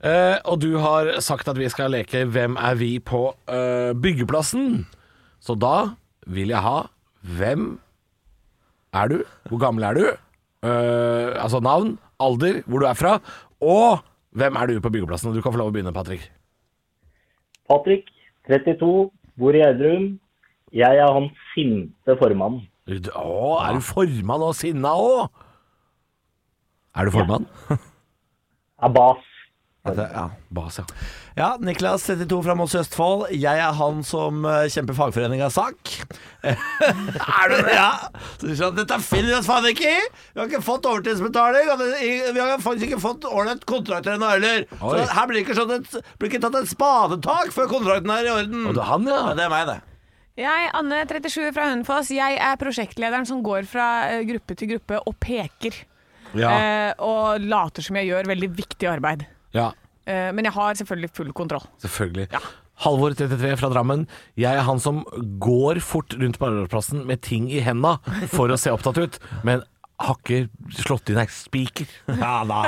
Eh, og du har sagt at vi skal leke Hvem er vi på eh, byggeplassen? Så da vil jeg ha Hvem er du? Hvor gammel er du? Eh, altså navn, alder, hvor du er fra, og hvem er du på byggeplassen? Du kan få lov å begynne, Patrick. Patrick, 32, bor i Gjerdrum. Jeg er han sinte formannen. Å, er du formann og sinna òg? Er du formann? Er bas. Ja. Bas, ja. ja, Niklas 32 fra Moss i Østfold. Jeg er han som eh, kjemper fagforeningas sak. er du det? Ja. Så du skjønner, at Dette finner vi oss faen ikke i! Vi har ikke fått overtidsbetaling, og det- i- vi har faktisk ikke fått ålreit kontrakter ennå heller. Så Oi. her blir det ikke, sånn et, blir ikke tatt et spadetak før kontrakten er i orden. Og det er han, ja. Ja, det er meg, det. Jeg, Anne 37 fra Hønefoss, jeg er prosjektlederen som går fra eh, gruppe til gruppe og peker. ja. Eh, og later som jeg gjør veldig viktig arbeid. ja. Eh, men jeg har selvfølgelig full kontroll. Selvfølgelig. Halvor 33 fra Drammen. Jeg er han som går fort rundt på arbeidsplassen med ting i henda for å se opptatt ut, men har ikke slått inn ei spiker. Ja da.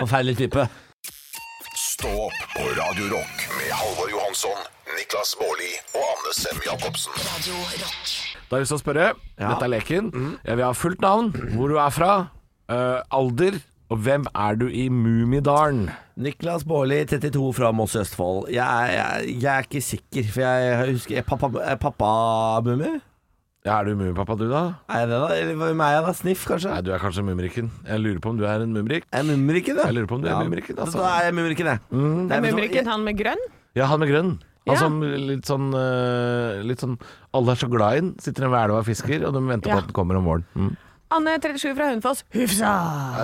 Forferdelig type. Stå opp på Radio Rock med Halvor Johansson, Niklas Baarli og Anne Sem Jacobsen. Radio Rock. Da har jeg lyst til å spørre. Dette er leken. Mm. Jeg vil ha fullt navn, hvor du er fra, eh, alder, og hvem er du i Mummidalen? Niklas Baarli, 32 fra Moss i Østfold. Jeg, er- jeg, jeg er ikke sikker, for jeg husker jeg, pappa, er Pappa-mummi? Ja, er du Mummipappa, du, da? Er jeg det, da? Eller hvem er jeg, da? Sniff, Nei, kanskje? du er kanskje Mumrikken. Jeg lurer på om du er en mumrik. Er jeg mumrikken, da? Jeg lurer på om du er mumrikken, altså. Da er jeg mumrikken, jeg. Nei, men så- Mumrikken, han med grønn? Ja, han med grønn. Han Ja. som litt sånn, eh, litt sånn Alle er så glad i den. Sitter en ved elva og fisker, og de venter Ja. på at den kommer om våren. Mm. Anne 37 fra Hønefoss, hufsa!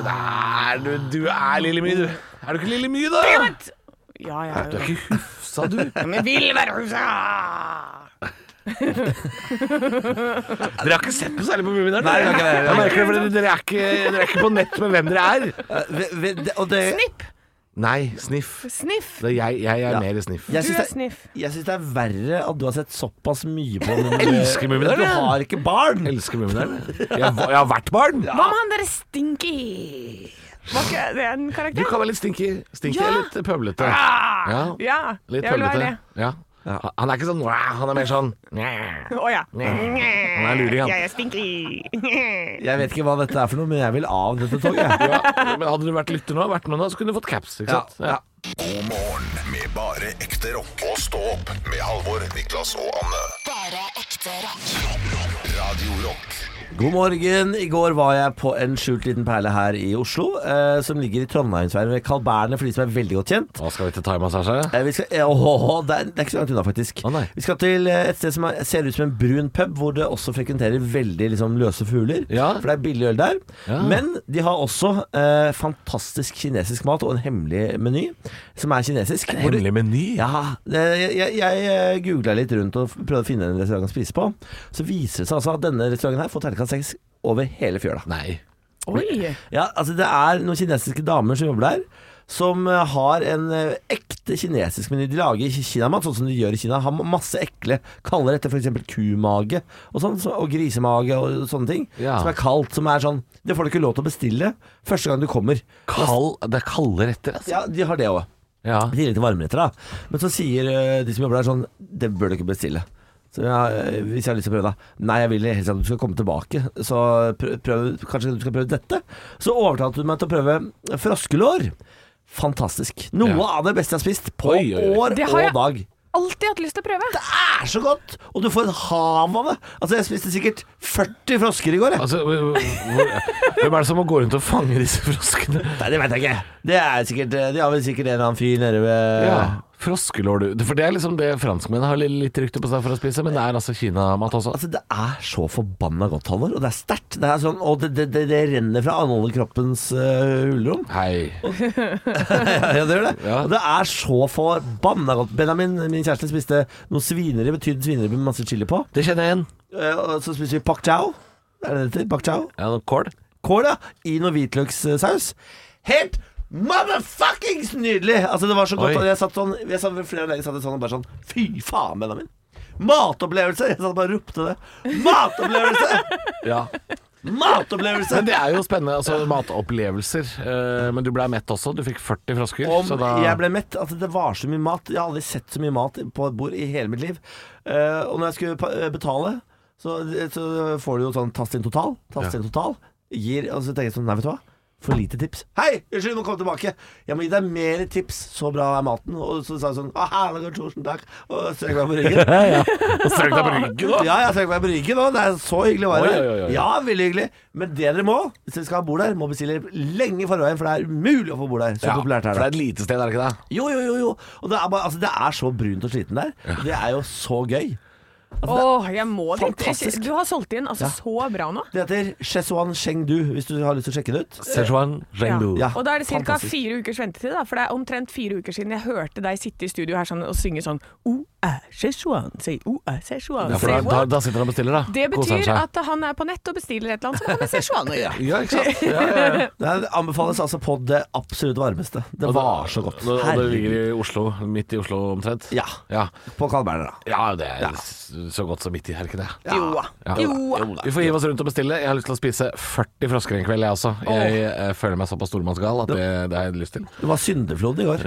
Er du, du er Lille My, du. Er du ikke Lille My, da? Ja, jeg er Du jo er ikke Hufsa, du. Men vil være hufsa! Dere har ikke sett noe særlig på Mummidalen? Nei, vi har ikke det. Jeg merker det, fordi dere er, ikke, dere er ikke på nett med hvem dere er. Eh, ve- ve- det- og det- Snipp! Nei, sniff. Sniff! Det er jeg, jeg er Ja. mer sniff. Jeg Du syns er det, sniff. jeg syns det er verre at du har sett såpass mye på Elsker Mummidalen, Du jeg. har ikke barn! Elsker Mummidalen. Jeg, var- jeg har vært barn. Hva med han derre Stinky? Var ikke det en Du karakter? kan være litt stinky. Stinky Ja. er litt pøblete. Ja. Ja, Litt jeg vil være pøblete. det. Ja. Han er ikke sånn "Wah", Han er mer sånn "Nye". Å ja. Han er luring, han. Jeg er Stinky. Jeg vet ikke hva dette er for noe, men jeg vil av dette toget. Ja, men hadde du vært lytter nå, vært med nå, så kunne du fått caps. Ikke sant? Ja, ja. God morgen med bare ekte rock. Og stå opp med Halvor, Niklas og Anne. Bare ekte rock. Radio Rock God morgen. I går var jeg på en skjult liten perle her i Oslo, eh, som ligger i Trondheimsveien ved Carl Berner, for de som er veldig godt kjent. Hva skal vi til thaimassasje? Eh, Vi skal, eh, åh, det, er, det er ikke så langt unna, faktisk. Å, nei. vi skal til eh, et sted som er, ser ut som en brun pub, hvor det også frekventerer veldig liksom, løse fugler. Ja. For det er billig øl der. Ja. Men de har også eh, fantastisk kinesisk mat og en hemmelig meny, som er kinesisk. hvor du- meny? Eh, Ja. ja, det- jeg, jeg, jeg googla litt rundt og prøvde å finne en restaurant å spise på. Så viser det seg altså at denne restauranten her får terningkast seks over hele fjøla. Nei. Oi. Ja, altså det er noen kinesiske damer som jobber der, som eh, har en eh, ekte kinesisk meny. De lager ki- kinamat sånn som de gjør i Kina. Har masse ekle kaller etter f.eks. kumage og sånn, så- og grisemage og sånne ting. Ja. Som er kaldt. Som er sånn Det får du ikke lov til å bestille første gang du kommer. Kald, det er kalde retter, altså. Ja, de har det òg. Ja. Det gir litt varmeretter, da. Men så sier eh, de som jobber der sånn Det bør du ikke bestille. Så ja, eh, hvis jeg har lyst til å prøve det. Nei, jeg vil helst at du skal komme tilbake. Så prøv, prøv, kanskje du skal prøve dette. Så overtalte du meg til å prøve froskelår. Fantastisk. Noe Ja. av det beste jeg har spist på Oi, oi, oi. år Det har og jeg- dag. Alltid hatt lyst til å prøve. Det er så godt! Og du får et hav av det. Altså, jeg spiste sikkert 40 frosker i går, jeg. Altså, hvor, hvor, hvem er det som må gå rundt og fange disse froskene? Nei, det veit jeg ikke. Det er sikkert eh, De har vel sikkert en eller annen fyr nede ved Ja, Froskelår, du. For det er liksom det franskmennene har litt- litt rykte på seg for å spise, men det er altså kinamat også. Altså, det er så forbanna godt, Halvor. Og det er sterkt. Det er sånn, og det, det, det, det renner fra anholdekroppens uh, hulrom. Hei. ja, ja, det gjør det. Ja. Og det er så forbanna godt. Benjamin, min kjæreste, spiste noe svineri, betydd svineri med masse chili på. Det kjenner jeg igjen. Eh, og så spiser vi pak chow. Er det det heter? Pak chow? Ja, noe kål. Kål, ja. I noe hvitløkssaus. Helt motherfuckings nydelig! Altså, det var så godt. Oi. Og jeg satt sånn Jeg satt ved flere leger satt jeg sånn og bare sånn Fy faen, Benjamin. Matopplevelse! Jeg satt og bare og ropte det. Matopplevelse! Ja. Matopplevelse! Men det er jo spennende. Altså, matopplevelser. Eh, Men du ble mett også. Du fikk 40 frosker. Om så da jeg ble mett, altså det var så mye mat Jeg har aldri sett så mye mat på et bord i hele mitt liv Eh, Og når jeg skulle pa- eh, betale Så, eh, så får du jo sånn Tast inn total, tast inn total gir, Og så tenker jeg sånn, nei vet du hva for lite tips Hei, unnskyld, må komme tilbake Jeg må gi deg mer tips, så bra er maten Og så sa jeg sånn, ah, herlig, tusen takk Og strøk meg på ryggen Strøk deg på ryggen, da. Ja, jeg strøk meg på ryggen også, det er så hyggelig å være Oi, her. oi, oi, oi. Ja, veldig hyggelig Men det dere må, hvis dere skal ha bord der Må bestille lenge i forveien, for det er umulig å få bord der Så Ja, populært er for det er et lite sted, er det ikke det? jo, jo, jo, jo. Og det er, bare, altså, det er så brunt og sliten der. Det er jo så gøy. Åh, jeg må dit. Fantastisk. Du har solgt inn altså så bra nå. Det heter Chesuan Chengdu, hvis du har lyst til å sjekke det ut. Sichuan Rengdu. Ja. Og da er det ca. Fantastisk. fire ukers ventetid, da, for det er omtrent fire uker siden jeg hørte deg sitte i studio her sånn, og synge sånn «O, æ, Sichuan, si, o, æ, Sichuan, Ja, for si, da, da, what?» da sitter han og bestiller, da. Det Koser han betyr seg. at han er på nett og bestiller et eller annet, så kommer Sichuan og gjør. Ja, ikke sant. Ja, ja, ja. Det er- anbefales altså på det absolutt varmeste. Det var så godt. Og det ligger Herregud. i Oslo, midt i Oslo omtrent? Ja. Ja, På Carl Berner, da. ja det er s- så godt som midt i, er det ikke det? Jo da. Ja. Jo da. Vi får hive oss rundt og bestille. Jeg har lyst til å spise 40 frosker en kveld, jeg også. Jeg, eh, føler meg såpass stormannsgal at det, det har jeg lyst til. Det var syndeflod i går.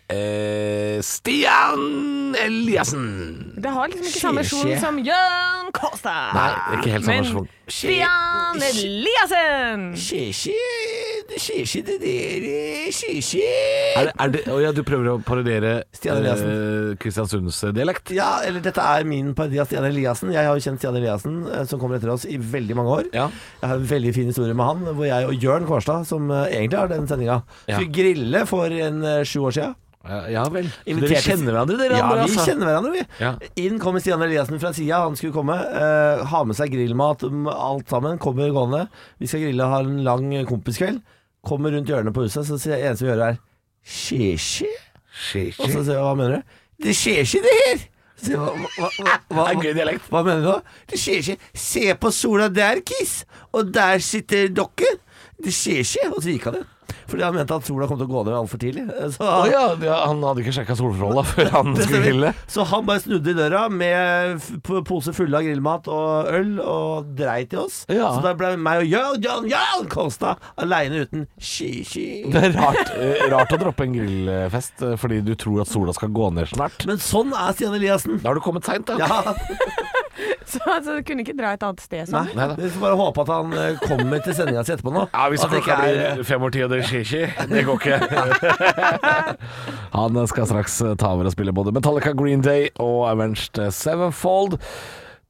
Eh, Stian Eliassen! Det har liksom ikke samme Skje, sjon skje. som Jan Kosta. Nei, ikke helt samme Men person. Stian Eliassen! Skjer ikke det der Er Skjer det, er det, å ja, du prøver å parodiere Stian Eliassen. eh, Kristiansunds dialekt? Ja, eller dette er min parodi av Stian Eliassen. Jeg har jo kjent Stian Eliassen, eh, som kommer etter oss i veldig mange år. Ja. Jeg har en veldig fin historie med han, hvor jeg og Jørn Kvarstad, som eh, egentlig har den sendinga, Ja. skulle grille for en eh, sju år sia. Ja, Ja vel. Dere Inviterte- kjenner hverandre, dere Ja, andre, vi altså. kjenner hverandre, vi. Ja. Inn kommer Stian Eliassen fra sida, han skulle komme. eh, ha med seg grillmat, m- alt sammen. Kommer gående. Vi skal grille, ha en lang kompiskveld. Kommer rundt hjørnet på huset, så sier jeg eneste vi hører er Skjer ikke? Skjer Og ikke. så sier jeg hva mener du? Det skjer ikke, det her! Se, hva, hva, hva, hva, Det er gøy dialekt. Hva mener du nå? Det skjer ikke. Se på sola der, Kiss. Og der sitter dere. Det skjer ikke. Og så gikk han igjen. Fordi han mente at sola kom til å gå ned altfor tidlig. Så, Å ja, ja, han hadde ikke sjekka solforholda før han Det skulle stemmer. grille. så han bare snudde i døra med f- p- pose fulle av grillmat og øl og dreit i oss. Ja. Så da ble meg og Jan Jan Jan Kolstad aleine uten ski-ski. Det er rart, eh, rart å droppe en grillfest eh, fordi du tror at sola skal gå ned snart. Men sånn er Stian Eliassen. Da har du kommet seint, da. Ja, Så altså, du kunne ikke dra et annet sted sånn? nei, Vi får bare håpe at han eh, kommer til sendinga si etterpå nå. Ja, hvis At det klokka ikke er- eh, blir fem over ti og det skjer ikke, det går ikke. Han skal straks eh, ta over og spille både Metallica Green Day og Avenged Sevenfold.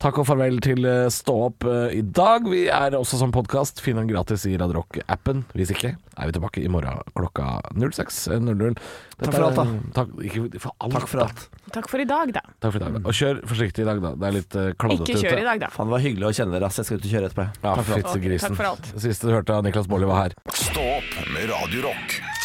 Takk og farvel til eh, Stå opp eh, i dag. Vi er også som podkast. Finn den gratis i Radarock-appen. Hvis ikke er vi tilbake i morgen klokka eh, 06.00. Takk for alt, da. Takk, ikke, for alt, Takk for alt. Takk for i dag, da. Takk for i dag. da. Og kjør forsiktig i dag, da. Det er litt eh, Ikke kladdete ute. kjør i dag, da. Faen, det var hyggelig å kjenne dere. ass. Jeg skal ut og kjøre etterpå. jeg. Ja, Takk for alt. fitsegrisen. Ok, takk for alt. Siste du hørte av Niklas Baarli var her. Stå opp med Radio Rock.